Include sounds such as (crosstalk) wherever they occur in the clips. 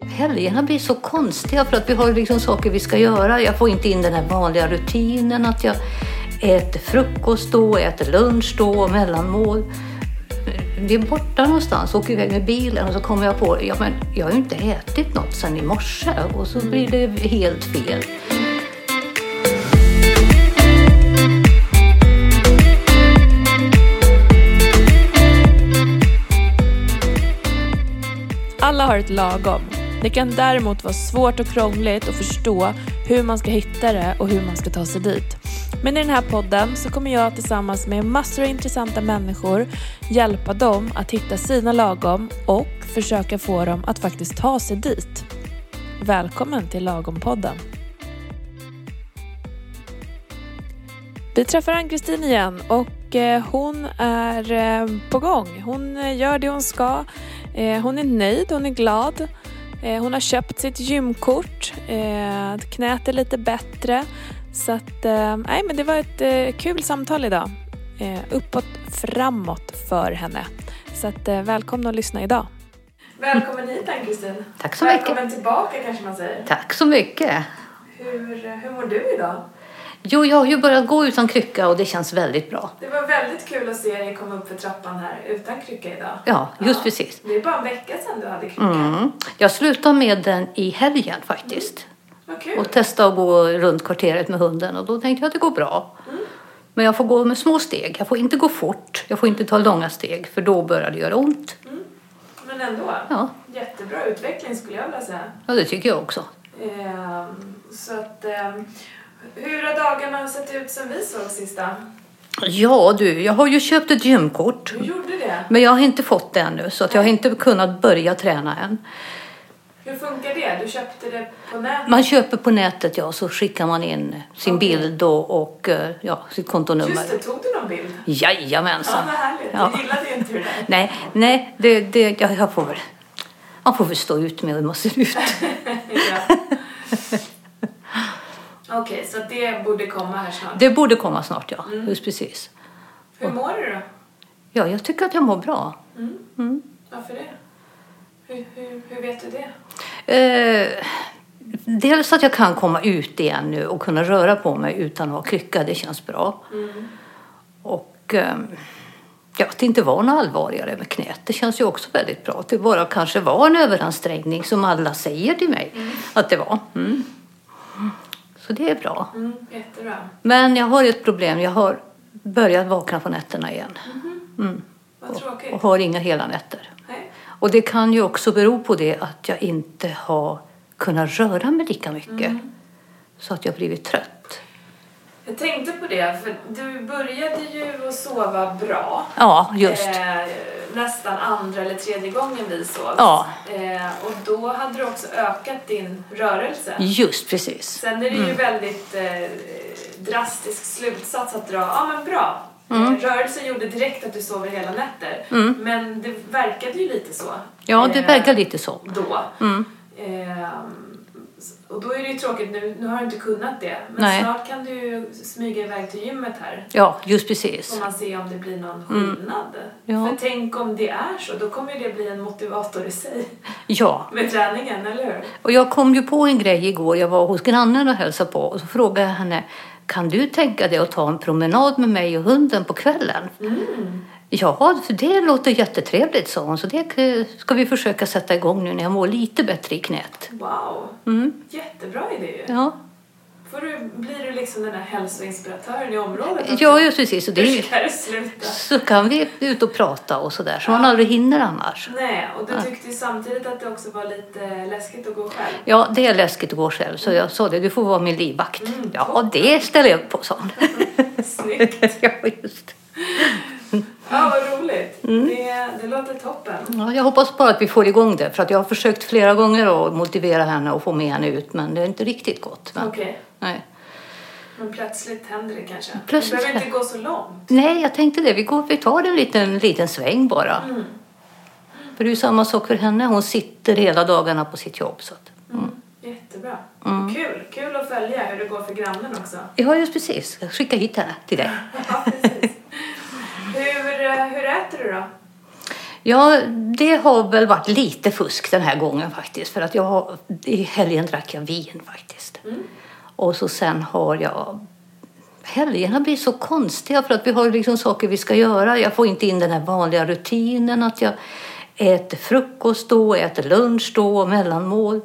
Helgerna blir så konstiga för att vi har ju liksom saker vi ska göra. Jag får inte in den här vanliga rutinen att jag äter frukost då, äter lunch då och mellanmål. Det är borta någonstans, åker iväg med bilen och så kommer jag på ja men jag har ju inte ätit något sedan i morse och så blir det helt fel. Alla har ett lagom. Det kan däremot vara svårt och krångligt att förstå hur man ska hitta det och hur man ska ta sig dit. Men i den här podden så kommer jag tillsammans med massor av intressanta människor hjälpa dem att hitta sina lagom och försöka få dem att faktiskt ta sig dit. Välkommen till Lagom-podden. Vi träffar Ann-Kristin igen och eh, hon är eh, på gång. Hon eh, gör det hon ska. Eh, Hon är nöjd, hon är glad. Eh, Hon har köpt sitt gymkort. Eh, Knät är lite bättre. Så att, eh, nej men det var ett eh, kul samtal idag. Eh, Uppåt, framåt för henne. Så att, eh, välkomna att lyssna idag. Välkommen hit Ann-Kristin. Tack så mycket. tillbaka kanske man säger. Tack så mycket. Hur, hur mår du idag? Jo, jag har ju börjat gå utan krycka och det känns väldigt bra. Det var väldigt kul att se dig komma upp för trappan här utan krycka idag. Ja, just precis. Det är bara en vecka sedan du hade krycka. Mm. Jag slutade med den i helgen faktiskt. Vad kul. Och testade att gå runt kvarteret med hunden och då tänkte jag att det går bra. Men jag får gå med små steg. Jag får inte gå fort. Jag får inte ta långa steg för då börjar det göra ont. Men ändå. Ja, Jättebra utveckling skulle jag vilja säga. ja det tycker jag också. Ehm, så att, ehm, hur har dagarna sett ut sen vi såg sista? Ja du, jag har ju köpt ett gymkort. Du gjorde det. Men jag har inte fått det ännu så att jag har inte kunnat börja träna än. Hur funkar det? Du köpte det på nätet? Man köper på nätet ja, så skickar man in sin Okej. bild och, och eh, ja, sitt kontonummer. Just det, tog du någon bild? Ja, Jajamensan. vad härligt. Ja. Jag gillade inte det där. Nej, nej, det, det, jag, jag får väl... Man får väl stå ut med hur man ser ut. ja. Okej, så det borde komma här snart. Det borde komma snart, ja. Just precis. Hur mår du då? Ja, jag tycker att jag mår bra. Varför det? Hur, hur, hur vet du det? Eh, dels att jag kan komma ut igen nu och kunna röra på mig utan att ha krycka. Det känns bra. Och ehm, ja, att det inte var något allvarligare med knät. Det känns ju också väldigt bra. Att det bara kanske var en överansträngning som alla säger till mig att det var. Mm. Så det är bra. Mm, jättebra. Men jag har ett problem. Jag har börjat vakna på nätterna igen. Vad tråkigt. Och har inga hela nätter. Nej. Och det kan ju också bero på det att jag inte har kunnat röra mig lika mycket. Så att jag har blivit trött. Jag tänkte på det, för du började ju att sova bra. Ja, just. Eh, nästan andra eller tredje gången vi sov. Ja. Eh, och då hade du också ökat din rörelse. Just precis. Sen är det ju väldigt eh, drastisk slutsats att dra. Ja, men bra. Mm. Eh, Rörelsen gjorde direkt att du sover hela nätter. Men det verkade ju lite så. Ja, det eh, verkar Mm. lite så. Då. Ehm, s- och då är det ju tråkigt, nu, nu har du inte kunnat det. Men Nej. snart kan du ju smyga iväg till gymmet här. Ja, just Får precis. man se om det blir någon skillnad. Mm. Ja. För tänk om det är så, då kommer ju det bli en motivator i sig. Ja, Med träningen, eller hur? och jag kom ju på en grej igår. Jag var hos grannen och hälsade på och så frågade jag henne kan du tänka dig att ta en promenad med mig och hunden på kvällen? Ja, för det låter jättetrevligt, sa hon. Så det eh, ska vi försöka sätta igång nu när jag mår lite bättre i knät. Wow! Mm. Jättebra idé ju. Ja, Får du, blir du liksom den här hälsoinspiratören i området? också? ja just precis. Och det är Hur ska det sluta? så kan vi ut och prata och sådär, så man aldrig hinner annars. Nej, och du tyckte ju samtidigt att det också var lite läskigt att (laughs) gå själv. Ja, det är läskigt att gå själv, så jag sa det, du får vara min livvakt. Ja, det ställer jag upp på, sa hon. (laughs) Snyggt! ja, just. Ja, vad roligt! Mm. Det, det låter toppen. Ja, jag hoppas bara att vi får igång det, för att jag har försökt flera gånger att motivera henne och få med henne ut, men det har inte riktigt gått. Men, Okej, nej. men plötsligt händer det kanske. Plötsligt du behöver händer- inte gå så långt. nej, jag tänkte det, vi, går, vi tar en liten, liten sväng bara. För det är ju samma sak för henne, hon sitter hela dagarna på sitt jobb. Så att, Mm, Jättebra. Mm. Kul! Kul att följa hur det går för grannen (laughs) också. ja, just precis, jag skickar hit henne till dig. Ja, precis. hur, eh, hur äter du då? Ja, det har väl varit lite fusk den här gången faktiskt. För att jag har, i helgen drack jag vin faktiskt. Och så sen har jag... Helgerna blir så konstiga för att vi har liksom saker vi ska göra. Jag får inte in den här vanliga rutinen att jag äter frukost då, äter lunch då, mellanmål.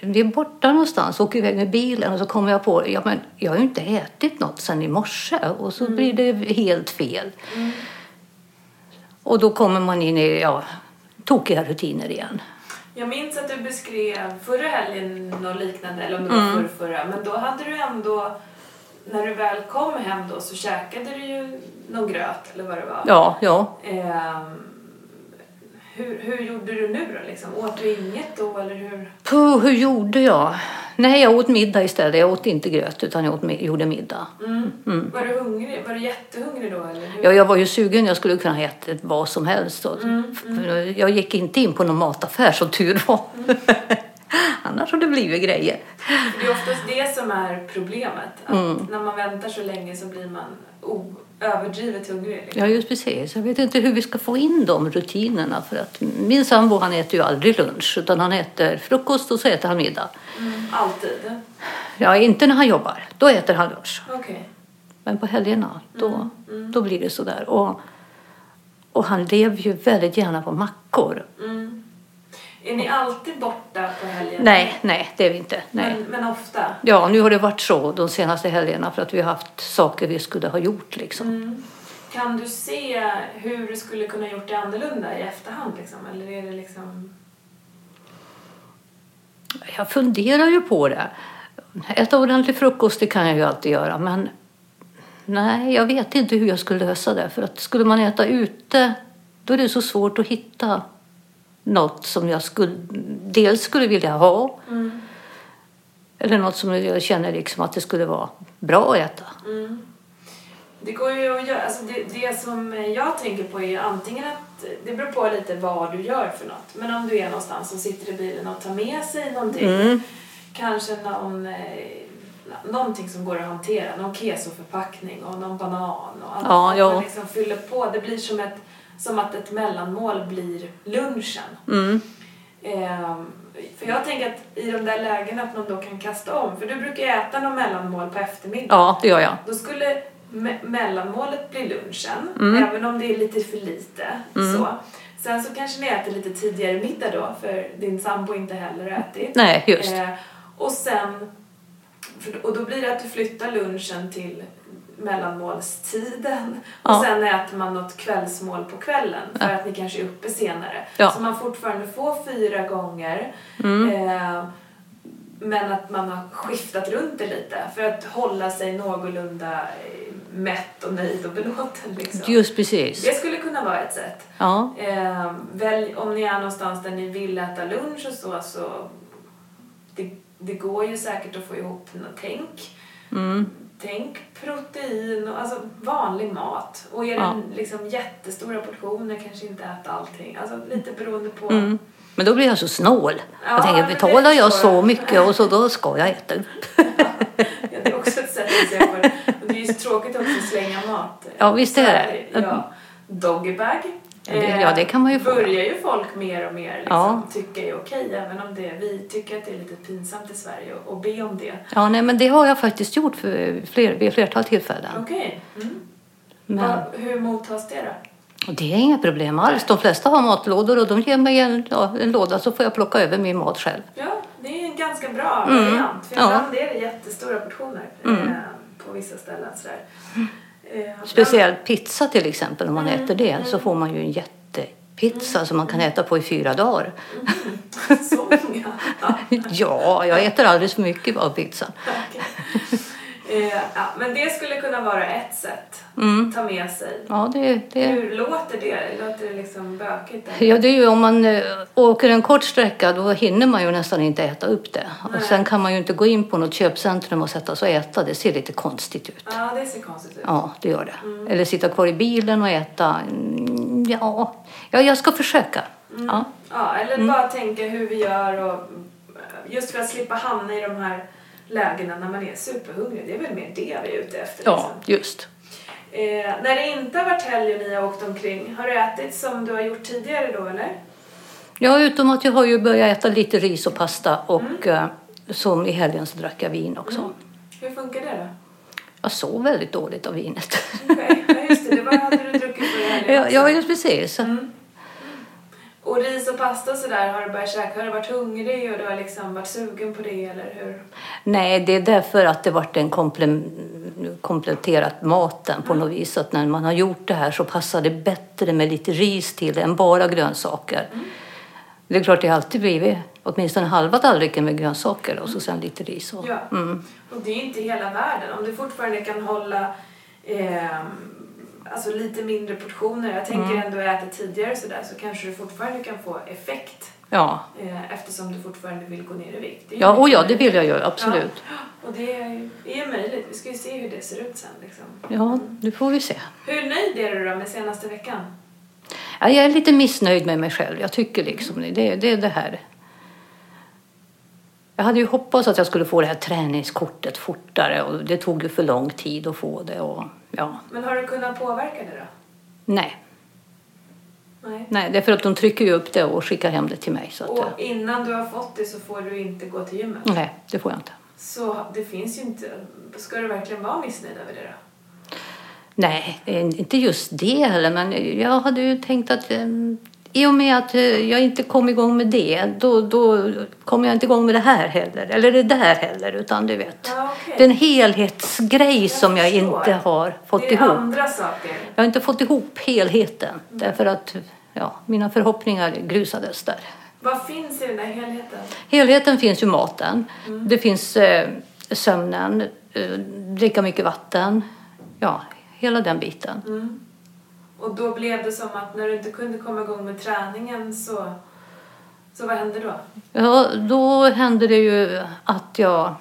Vi är borta någonstans, åker iväg med bilen och så kommer jag på ja men jag har ju inte ätit något sen i morse och så blir det helt fel. Och då kommer man in i ja, tokiga rutiner igen. Jag minns att du beskrev förra helgen något liknande, eller om det var förra, förra, men då hade du ändå, när du väl kom hem då så käkade du ju någon gröt eller vad det var. Ja, ja. Ehm, hur, hur gjorde du nu då liksom? Åt du inget då eller hur? Puh, hur gjorde jag? Nej, jag åt middag istället. Jag åt inte gröt utan jag åt, mi- gjorde middag. Var du hungrig? Var du jättehungrig då eller hur? Ja, jag var ju sugen. Jag skulle kunna äta vad som helst. Och- Jag gick inte in på någon mataffär som tur var. (laughs) Annars hade det blivit grejer. För Det är oftast det som är problemet. Att När man väntar så länge så blir man o- överdrivet hungrig. Liksom. Ja, just precis. Jag vet inte hur vi ska få in de rutinerna. För att min sambo han äter ju aldrig lunch utan han äter frukost och så äter han middag. Alltid. Ja, inte när han jobbar. Då äter han lunch. Okej. Men på helgerna, då, då blir det sådär. Och, och han lever ju väldigt gärna på mackor. Mm. Är ni alltid borta på helgen? Nej, nej, det är vi inte. Nej. Men, men ofta? Ja, nu har det varit så de senaste helgerna för att vi har haft saker vi skulle ha gjort liksom. Kan du se hur du skulle kunna gjort det annorlunda i efterhand liksom? Eller är det liksom... Jag funderar ju på det. Äta ordentlig frukost, det kan jag ju alltid göra, men nej, jag vet inte hur jag skulle lösa det. För att skulle man äta ute, då är det så svårt att hitta något som jag skulle, dels skulle vilja ha, Mm. eller något som jag känner liksom att det skulle vara bra att äta. Det går ju att göra, alltså det, det som jag tänker på är ju antingen att, det beror på lite vad du gör för något, men om du är någonstans och sitter i bilen och tar med sig någonting, Mm. kanske någon, eh, någonting som går att hantera, någon kesoförpackning och någon banan och allt Ja, att ja. man liksom fyller på, det blir som, ett, som att ett mellanmål blir lunchen. Mm. Ehm, för jag tänker att i de där lägena att man då kan kasta om, för du brukar ju äta någon mellanmål på eftermiddagen. Ja, det gör jag. Då skulle me- mellanmålet bli lunchen, även om det är lite för lite. Så. Sen så kanske ni äter lite tidigare middag då, för din sambo inte heller har ätit. Nej, just. Eh, och sen, för, och då blir det att du flyttar lunchen till mellanmålstiden Ja. och sen äter man något kvällsmål på kvällen för att ni kanske är uppe senare. Ja. Mm. Så man fortfarande får fyra gånger eh, men att man har skiftat runt det lite för att hålla sig någorlunda eh, mätt och nöjd och belåten. Liksom. Just precis. Det skulle kunna vara ett sätt. Ja, Eh, välj, om ni är någonstans där ni vill äta lunch och så, så det, det går ju säkert att få ihop nå- tänk. Mm. Tänk protein och alltså vanlig mat. Och är det Ja. liksom jättestora portioner kanske inte äta allting. Alltså lite beroende på. Mm. men då blir jag så snål. Ja, jag tänker, men det betalar jag förstår så jag. mycket och så då ska jag äta upp. Ja, det är också ett sätt att se på det. Och det är ju så tråkigt också att slänga mat. Ja, visst är det. Mm. Så, Ja, doggybag. Ja, det- ja, det kan man ju få. Börjar ju folk mer och mer liksom, Ja. tycka är okej, även om det, vi tycker att det är lite pinsamt i Sverige och, och be om det. Ja, nej, men det har jag faktiskt gjort för fler, vid flertal tillfällen. Okej. Mm. Men Vad- Hur mottas det då? och det är inga problem alls. De flesta har matlådor och de ger mig en, ja, en låda så får jag plocka över min mat själv. Ja, det är en ganska bra Mm, variant. För ja. Mm. ibland är det jättestora portioner eh, på vissa ställen. Sådär. Eh, (laughs) Speciellt pizza till exempel, om man äter det så får man ju en jättepizza som man kan äta på i fyra dagar. (laughs) men Eh, (laughs) Så många. Ja. Ja, jag äter alldeles för mycket av pizza. Okej. Eh, ja, men det skulle kunna vara ett sätt att ta med sig. Mm. Ja, det, det, Hur låter det? Låter det liksom bökigt? eller? ja, det är ju om man eh, åker en kort sträcka då hinner man ju nästan inte äta upp det. Och sen kan man ju inte gå in på något köpcentrum och sätta sig och äta. Det ser lite konstigt ut. Ja, det ser konstigt ut. Ja, det gör det. Eller sitta kvar i bilen och äta. Mm, Ja, ja jag ska försöka. Ja. Ja, eller Mm. bara tänka hur vi gör och eh, just för att slippa hamna i de här lägena när man är superhungrig. Det är väl mer det vi är ute efter. ja, Liksom. just. Eh, när det inte har varit helg och ni har åkt omkring, har du ätit som du har gjort tidigare då eller? Ja, utom att jag har ju börjat äta lite ris och pasta och eh, som i helgen så drack jag vin också. Mm. Hur (laughs) funkar det då? Jag sov väldigt dåligt av vinet. Okej, ja, just det, det var, hade du druckit förra (laughs) helgen ja, också. ja, just precis. Och ris och pasta och sådär, har du börjat käka? Har du varit hungrig och du har liksom varit sugen på det eller hur? Nej, det är därför att det vart en komplem, kompletterat maten på något vis. Att när man har gjort det här så passar det bättre med lite ris till än bara grönsaker. Det är klart, det har alltid blivit åtminstone halva tallriken med grönsaker och så sen lite ris. Och. Ja. Mm. Och det är ju inte hela världen. Om du fortfarande kan hålla eh, alltså lite mindre portioner. Jag tänker Mm. ändå äta tidigare sådär så kanske du fortfarande kan få effekt Ja. eh, eftersom du fortfarande vill gå ner i vikt. Det är ju ja, och ja, det möjligt. vill jag göra, absolut. Ja. Och det är är möjligt. Vi ska ju se hur det ser ut sen liksom. Ja, nu får vi se. Hur nöjd är du då med senaste veckan? Ja, jag är lite missnöjd med mig själv. Jag tycker liksom det, det, det är det här. Jag hade ju hoppats att jag skulle få det här träningskortet fortare och det tog ju för lång tid att få det och ja, Men har du kunnat påverka det nej. då? Nej. Nej, det är för att de trycker ju upp det och skickar hem det till mig så att Och eh, innan du har fått det så får du inte gå till gymmet. nej, det får jag inte. Så det finns ju inte. Ska du verkligen vara missnöjd över det då? Nej, det är inte just det heller, men jag hade ju tänkt att eh, i och med att eh, jag inte kom igång med det, då, då kommer jag inte igång med det här heller, eller det där heller, utan du vet. Ja, okej. Det är en helhetsgrej som jag förstår. inte har fått det är ihop. andra saker. Jag har inte fått ihop helheten därför att ja, mina förhoppningar grusades där. Vad finns i den där helheten? Helheten finns ju maten, det finns eh, sömnen, eh, dricka mycket vatten, ja, hela den biten. Och då blev det som att när du inte kunde komma igång med träningen så... Så vad hände då? Ja, då hände det ju att jag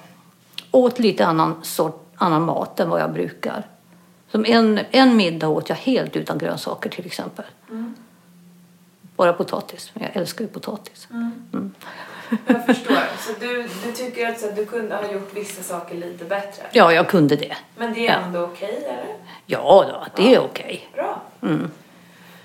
åt lite annan, sort, annan mat än vad jag brukar. Som en, en middag åt jag helt utan grönsaker till exempel. Bara potatis. Jag älskar ju potatis. (laughs) Jag förstår. Så du, du tycker alltså att så här, du kunde ha gjort vissa saker lite bättre. Ja, jag kunde det. Men det är ändå okej, eller? Ja, då, att det är okej. Bra.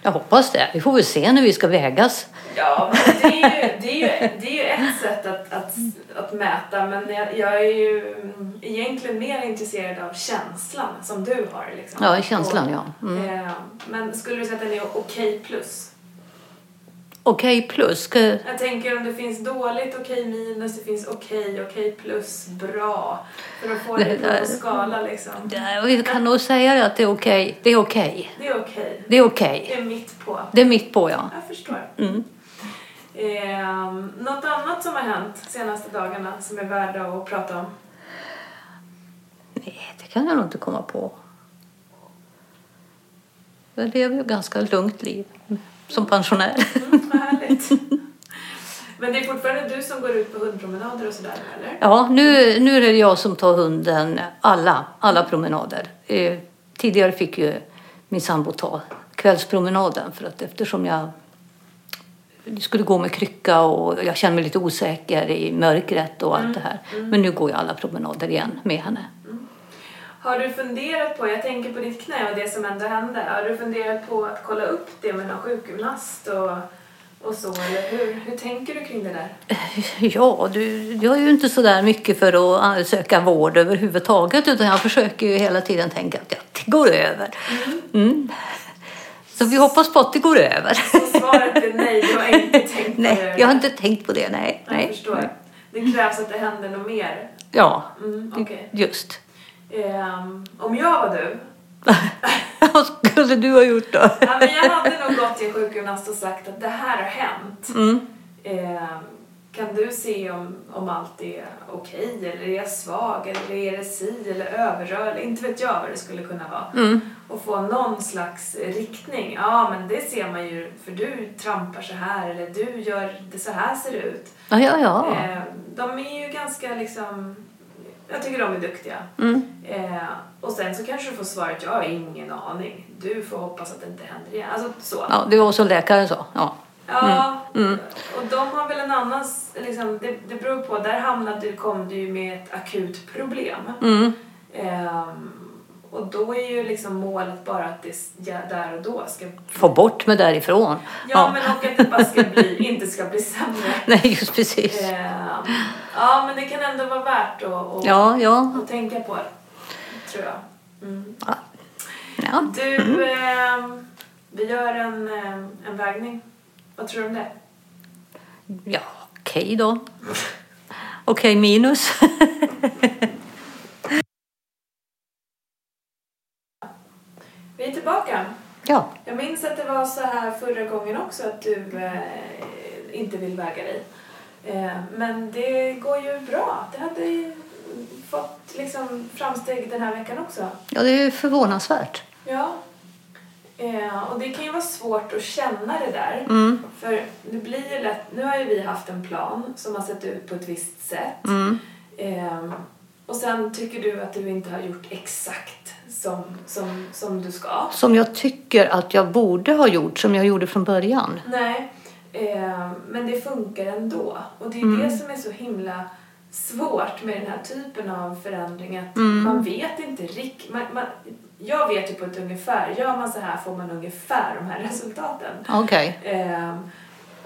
Jag hoppas det. Vi får väl se när vi ska vägas. Ja, men det är ju, det är ju, det är ju ett sätt att, att, att mäta men jag, jag är ju mm, egentligen mer intresserad av känslan som du har. Liksom. Ja, känslan, ja. Mm. Eh, Men skulle du säga att den är okej plus? Okej plus. Ska- Jag tänker om det finns dåligt, okej minus, det finns okej, okej plus, bra. För att få det på en skala liksom. Nej, Vi kan nog säga att det är okej. Det är okej. Det är okej. Det är okej. Det är mitt på. Det är mitt på, ja. Jag förstår. Mm. Eh, något annat som har hänt senaste dagarna som är värda att prata om? Nej, det kan jag nog inte komma på. Jag lever ju ett ganska lugnt liv som pensionär. Mm, vad härligt. Men det är fortfarande du som går ut på hundpromenader och sådär eller? Ja, nu, nu är det jag som tar hunden alla, alla promenader. Eh, tidigare fick ju min sambo ta kvällspromenaden för att eftersom jag skulle gå med krycka och jag känner mig lite osäker i mörkret och allt det här. Men nu går jag alla promenader igen med henne. Har du funderat på, jag tänker på ditt knä och det som ändå hände, har du funderat på att kolla upp det med någon sjukgymnast och, och så eller hur, hur tänker du kring det där? (laughs) Ja, du, jag är ju inte så där mycket för att eh, söka vård överhuvudtaget utan jag försöker ju hela tiden tänka att ja, det går över. Mm. Så vi hoppas på att det går över. Så svaret är nej, du har inte tänkt på Nej, det. jag har inte tänkt på det, nej. Jag nej. förstår. Det krävs att det händer något mer. Ja, Mm, okej. just. (laughs) Ehm, om jag var du, Vad skulle du ha gjort då? ja, men jag hade nog gått till en sjukgymnast och sagt att det här har hänt. Mm. Eh, kan du se om, om allt är okej eller är jag svag eller är det si eller överrörlig? Inte vet jag vad det skulle kunna vara. Och få någon slags riktning. Ja, men det ser man ju för du trampar så här eller du gör det så här ser det ut. Ja, ja, ja. Eh, de är ju ganska liksom... Jag tycker de är duktiga. Eh, och sen så kanske du får svaret jag har ingen aning. Du får hoppas att det inte händer igen. Alltså så. ja det var som läkaren sa. Ja. Ja, och de har väl en annan... s- Liksom, det, det beror på. Där hamnade, kom du ju med ett akut problem. Ehm, och Och då är ju liksom målet bara att det ja, där och då ska... Få bort mig därifrån. Ja, men och att det bara ska bli, inte ska bli sämre. Nej, just precis. Eh, ja, men det kan ändå vara värt att, att, Ja, ja. att tänka på, tror jag. Mm. ja. Du, eh, vi gör en, eh, en vägning. Vad tror du om det? Ja, okej då. Okej minus. (laughs) Vi är tillbaka. ja, Jag minns att det var så här förra gången också att du eh, inte vill väga dig. Eh, men det går ju bra. Det hade ju fått liksom, framsteg den här veckan också. ja, det är ju förvånansvärt. Ja. Eh, och det kan ju vara svårt att känna det där. Mm. För det blir ju lätt, nu har ju vi haft en plan som har sett ut på ett visst sätt. Mm. Ehm, och sen tycker du att du inte har gjort exakt som, som, som du ska. Som jag tycker att jag borde ha gjort, som jag gjorde från början. Nej, ehm, men det funkar ändå. Och det är det som är så himla svårt med den här typen av förändring. Att Man vet inte riktigt. Man, man, jag vet ju på ett ungefär. Gör man så här får man ungefär de här resultaten. Okej. Ehm,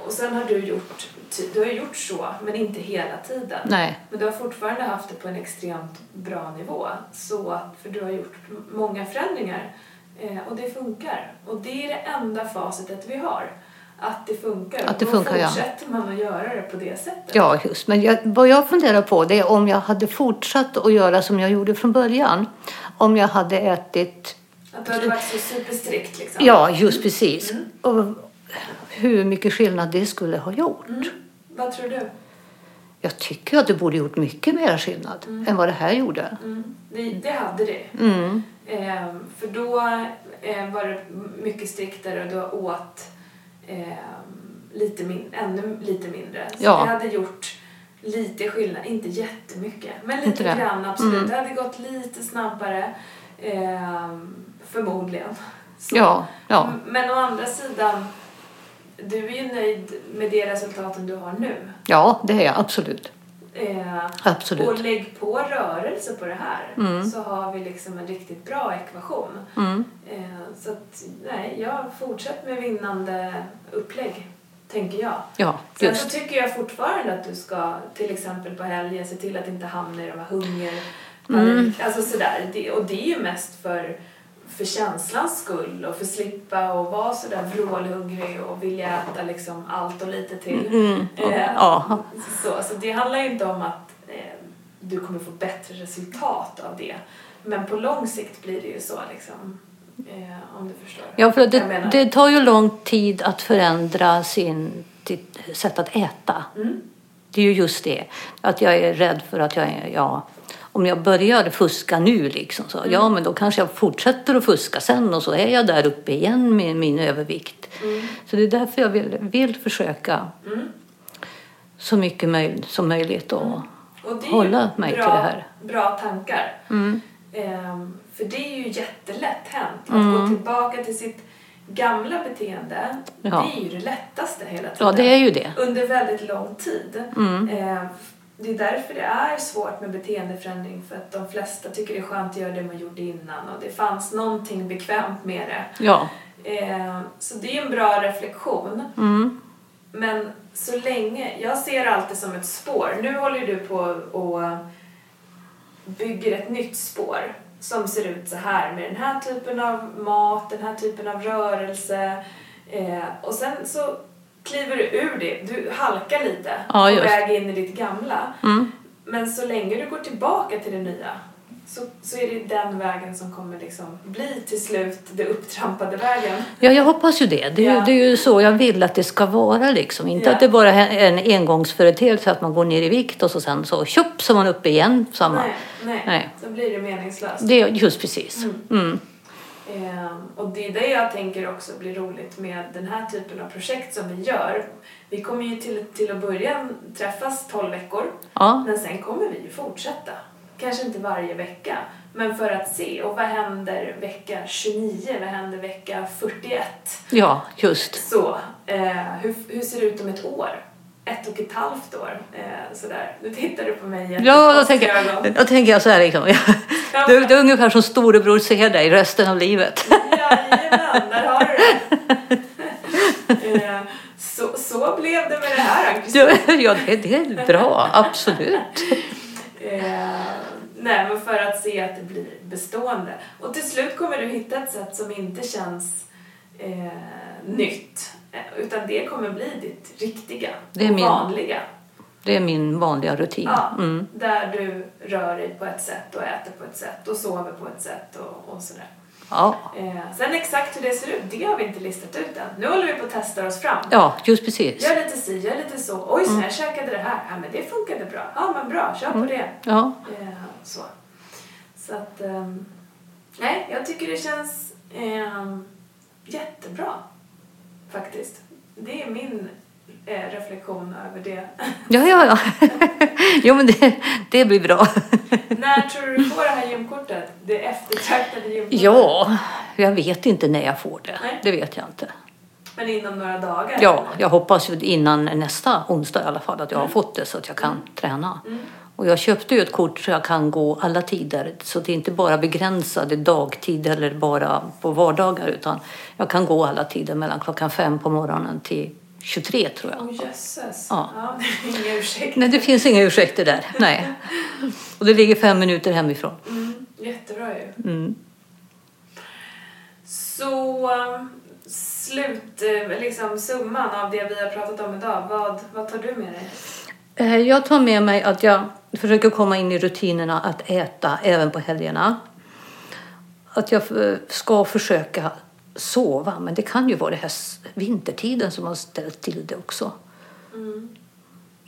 och sen har du gjort, ty- du har ju gjort så, men inte hela tiden. Nej. Men du har fortfarande haft det på en extremt bra nivå. Så, för du har gjort m- många förändringar. Eh, och det funkar. Och det är det enda facitet vi har. Att det funkar. Att det Och funkar, Då ja. fortsätter man att göra det på det sättet. Ja, just. Men jag, vad jag funderar på det är om jag hade fortsatt att göra som jag gjorde från början. Om jag hade ätit... Att du har varit så superstrikt liksom. Ja, just precis. Och hur mycket skillnad det skulle ha gjort. Vad tror du? Jag tycker att det borde gjort mycket mer skillnad än vad det här gjorde. Mm. Det, det hade det. Mm. Eh, för då eh, var det mycket striktare och då åt eh, lite min- ännu lite mindre. Så Ja. det hade gjort lite skillnad, inte jättemycket, men lite Inte det. Mm. grann absolut. Det hade gått lite snabbare, eh, förmodligen. Så. Ja, ja. M- Men å andra sidan, du är ju nöjd med det resultaten du har nu. ja, det är jag absolut. Eh, Absolut. Mm. Och lägg på rörelse på det här så har vi liksom en riktigt bra ekvation. Eh, så att, nej, jag fortsätter med vinnande upplägg, tänker jag. Ja, Sen just. så tycker jag fortfarande att du ska, till exempel på helgen, se till att inte hamna i de här hunger... Alltså sådär. Det, och det är ju mest för, för känslans skull och för att slippa och vara sådär vrålhungrig och vilja äta liksom allt och lite till. Eh, Ja. så, så det handlar ju inte om att eh, du kommer få bättre resultat av det. Men på lång sikt blir det ju så liksom. Eh, om du förstår. Ja, för vad jag det, menar. det tar ju lång tid att förändra sin, sitt sätt att äta. Mm. Det är ju just det. Att jag är rädd för att jag är... Ja, om jag börjar fuska nu, liksom, så, ja, Mm. men då kanske jag fortsätter att fuska sen och så är jag där uppe igen med min övervikt. Mm. Så det är därför jag vill, vill försöka så mycket möj, som möjligt. Och, Mm. Och det är hålla ju mig bra, till det här. Mm. bra tankar. Ehm, för det är ju jättelätt hänt. Att Mm. gå tillbaka till sitt gamla beteende, Ja. det är ju det lättaste hela tiden. Ja, det är ju det. Under väldigt lång tid. Ehm, det är därför det är svårt med beteendeförändring för att de flesta tycker det är skönt att göra det man gjorde innan och det fanns någonting bekvämt med det. Ja, Ehm, så det är en bra reflektion. Mm. Men så länge, jag ser allt det som ett spår. Nu håller ju du på och bygger ett nytt spår som ser ut så här med den här typen av mat, den här typen av rörelse. Eh, och sen så kliver du ur det, du halkar lite Ja, på just. Mm. väg in i ditt gamla. Men så länge du går tillbaka till det nya så, så är det den vägen som kommer liksom bli till slut det upptrampade vägen. Ja, jag hoppas ju det. Det är, ju, Ja. det är ju så jag vill att det ska vara. Liksom. Inte Ja. att det bara är en engångsföreteelse att man går ner i vikt och så sen så tjopp så är man uppe igen. Samma. Nej, nej, Nej. då blir det meningslöst. Det är just precis. Mm. Ehm, och det är det jag tänker också blir roligt med den här typen av projekt som vi gör. Vi kommer ju till, till att börja träffas 12 veckor, Ja. men sen kommer vi ju fortsätta. Kanske inte varje vecka, men för att se. Och vad händer vecka 29? Vad händer vecka 41? ja, just. Så, eh, hur, hur ser det ut om ett år? ett och ett halvt år. Eh, sådär. Nu tittar du på mig Ja, då tänker, jag, då tänker jag så här liksom. Du, du är ungefär som storebror ser dig resten av livet. Jajamän, där har du det. Eh, så, så blev det med det här (laughs) Ann-Kristin. Ja, det, det är bra, absolut. Eh, nej, men för att se att det blir bestående. Och till slut kommer du hitta ett sätt som inte känns eh, nytt. Eh, Utan det kommer bli ditt riktiga Det är och min- vanliga. Det är min vanliga rutin. Ja, Mm. Där du rör dig på ett sätt och äter på ett sätt och sover på ett sätt och, och sådär. Ja. Eh, sen exakt hur det ser ut, det har vi inte listat ut än. Nu håller vi på att testa oss fram. ja, just precis. Gör lite si, gör lite så. Oj, Mm. så här käkade det här. Ja, men det funkade bra. Ja, men bra. Kör på det. Ja, Eh, så. Så att... ehm, nej, jag tycker det känns ehm, jättebra. Faktiskt. Det är min eh, reflektion över det. (laughs) ja, ja. (laughs) ja. Jo, men det, det blir bra. när tror du du får det här gymkortet? Det eftertraktade gymkortet. Ja, jag vet inte när jag får det. Nej. Det vet jag inte. Men inom några dagar? Ja, jag hoppas ju innan nästa onsdag i alla fall att jag har fått det så att jag kan träna. Och jag köpte ju ett kort så jag kan gå alla tider. Så det är inte bara begränsade dagtid eller bara på vardagar utan jag kan gå alla tider mellan klockan fem på morgonen till 23 tror jag. Åh jösses. Ja. ja. (laughs) det är Inga ursäkter. Nej, det finns inga ursäkter där. Nej. Och det ligger fem minuter hemifrån. Mm, jättebra ju. Mm. Så um, slut, eh, liksom summan av det vi har pratat om idag. Vad, vad tar du med dig? Eh, Jag tar med mig att jag försöker komma in i rutinerna att äta även på helgerna. Att jag eh, ska försöka sova, men det kan ju vara det här s- vintertiden som har ställt till det också.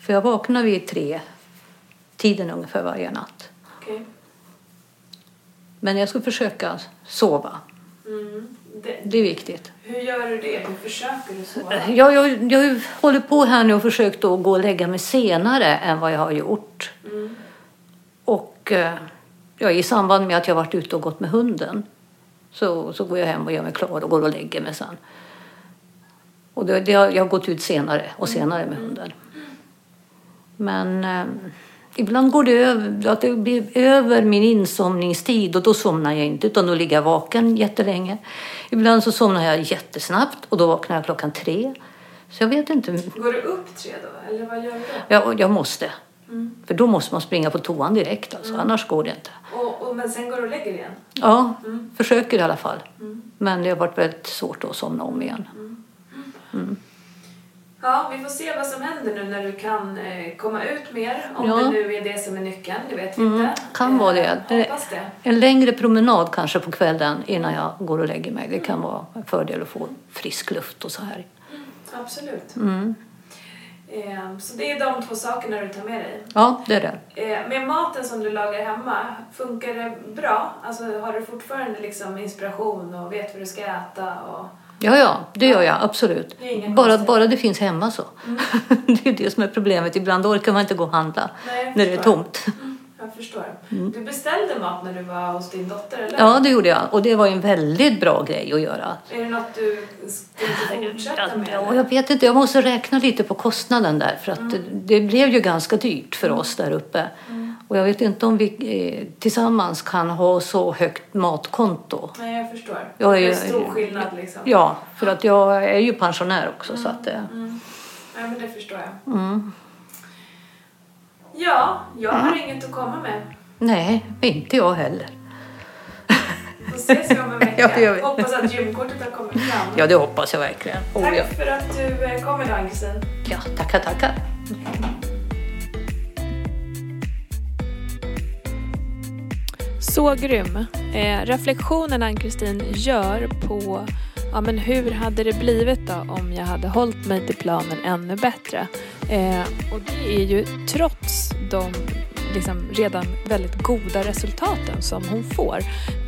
För jag vaknar vid tre tiden ungefär varje natt. Okej. Men jag ska försöka sova. Mm. Det, Det är viktigt. hur gör du det? Hur försöker du sova? Jag, jag, jag håller på här nu och försökt att gå och lägga mig senare än vad jag har gjort. Och eh, ja, i samband med att jag varit ute och gått med hunden så, så går jag hem och gör mig klar och går och lägger mig sen. Och det, det, har- jag har gått ut senare och senare med hunden. Men eh, ibland går det över, att det blir över min insomningstid och då somnar jag inte utan då ligger jag vaken jättelänge. Ibland så somnar jag jättesnabbt och då vaknar jag klockan tre. Så jag vet inte, Går du upp tre då? Eller vad gör du då? jag, jag måste. För då måste man springa på toan direkt alltså, annars går det inte. Och, och, men sen går du och lägger dig igen? Ja, försöker i alla fall. Men det har varit väldigt svårt att somna om igen. Ja, vi får se vad som händer nu när du kan eh, komma ut mer. Om Ja. Mm. det nu är det som är nyckeln, det vet vi inte. Eh, kan vara det. Det- Hoppas det. En längre promenad kanske på kvällen innan jag går och lägger mig. Det kan vara en fördel att få frisk luft och så här. Absolut. Mm. Eh, så det är de två sakerna du tar med dig. Ja, det är det. Eh, med maten som du lagar hemma, funkar det bra? Alltså har du fortfarande liksom inspiration och vet vad du ska äta? Och... Ja, ja, det gör jag absolut. Det är inga Bara, konstigheter. bara det finns hemma så. (laughs) det är det som är problemet. Ibland orkar man inte gå och handla Nej, jag när det är förstår. tomt. Jag förstår. Du beställde mat när du var hos din dotter, eller? Mm. Ja, det gjorde jag. Och det var ju en väldigt bra grej att göra. Är det något du skulle fortsätta med? Ja, eller? jag vet inte, jag måste räkna lite på kostnaden där för att det, det blev ju ganska dyrt för oss där uppe. Och jag vet inte om vi eh, tillsammans kan ha så högt matkonto. Nej, jag förstår. Jag är det är ju- stor skillnad liksom. Ja, för att jag är ju pensionär också så att eh, det... Nej, men det förstår jag. Mm. Ja, jag har inget att komma med. Nej, inte jag heller. Då ses vi om en vecka. (laughs) Ja, det gör vi. Hoppas att gymkortet har kommit fram. Ja, det hoppas jag verkligen. Oh, ja. Tack för att du eh, kom idag, Ann-Kristin. ja, tackar, tackar. Så grym. Eh, reflektionen Ann-Kristin gör på ja, men hur hade det blivit då om jag hade hållit mig till planen ännu bättre? Eh, och det är ju trots de liksom, redan väldigt goda resultaten som hon får.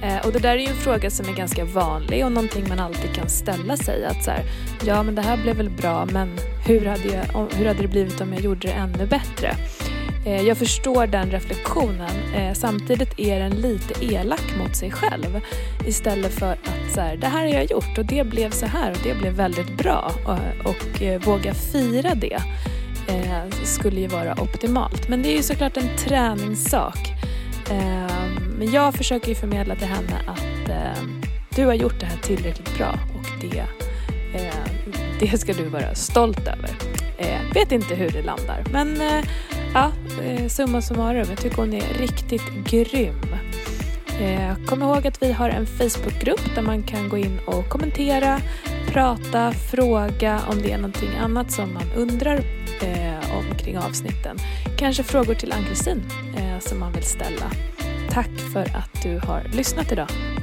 Eh, och det där är ju en fråga som är ganska vanlig och någonting man alltid kan ställa sig. Att så här, ja men det här blev väl bra men hur hade, jag, om, hur hade det blivit om jag gjorde det ännu bättre? Eh, Jag förstår den reflektionen. Eh, Samtidigt är den lite elak mot sig själv. Istället för att så här, det här har jag gjort och det blev så här och det blev väldigt bra. Och, och eh, våga fira det. eh, skulle ju vara optimalt. Men det är ju såklart en träningssak. Eh, men jag försöker ju förmedla till henne att eh, du har gjort det här tillräckligt bra och det, eh, det ska du vara stolt över. Eh, vet inte hur det landar men eh, ja, eh, summa summarum, jag tycker hon är riktigt grym. Eh, Kom ihåg att vi har en Facebookgrupp där man kan gå in och kommentera, prata, fråga om det är någonting annat som man undrar eh, om kring avsnitten. Kanske frågor till Ann-Kristin eh, som man vill ställa. Tack för att du har lyssnat idag.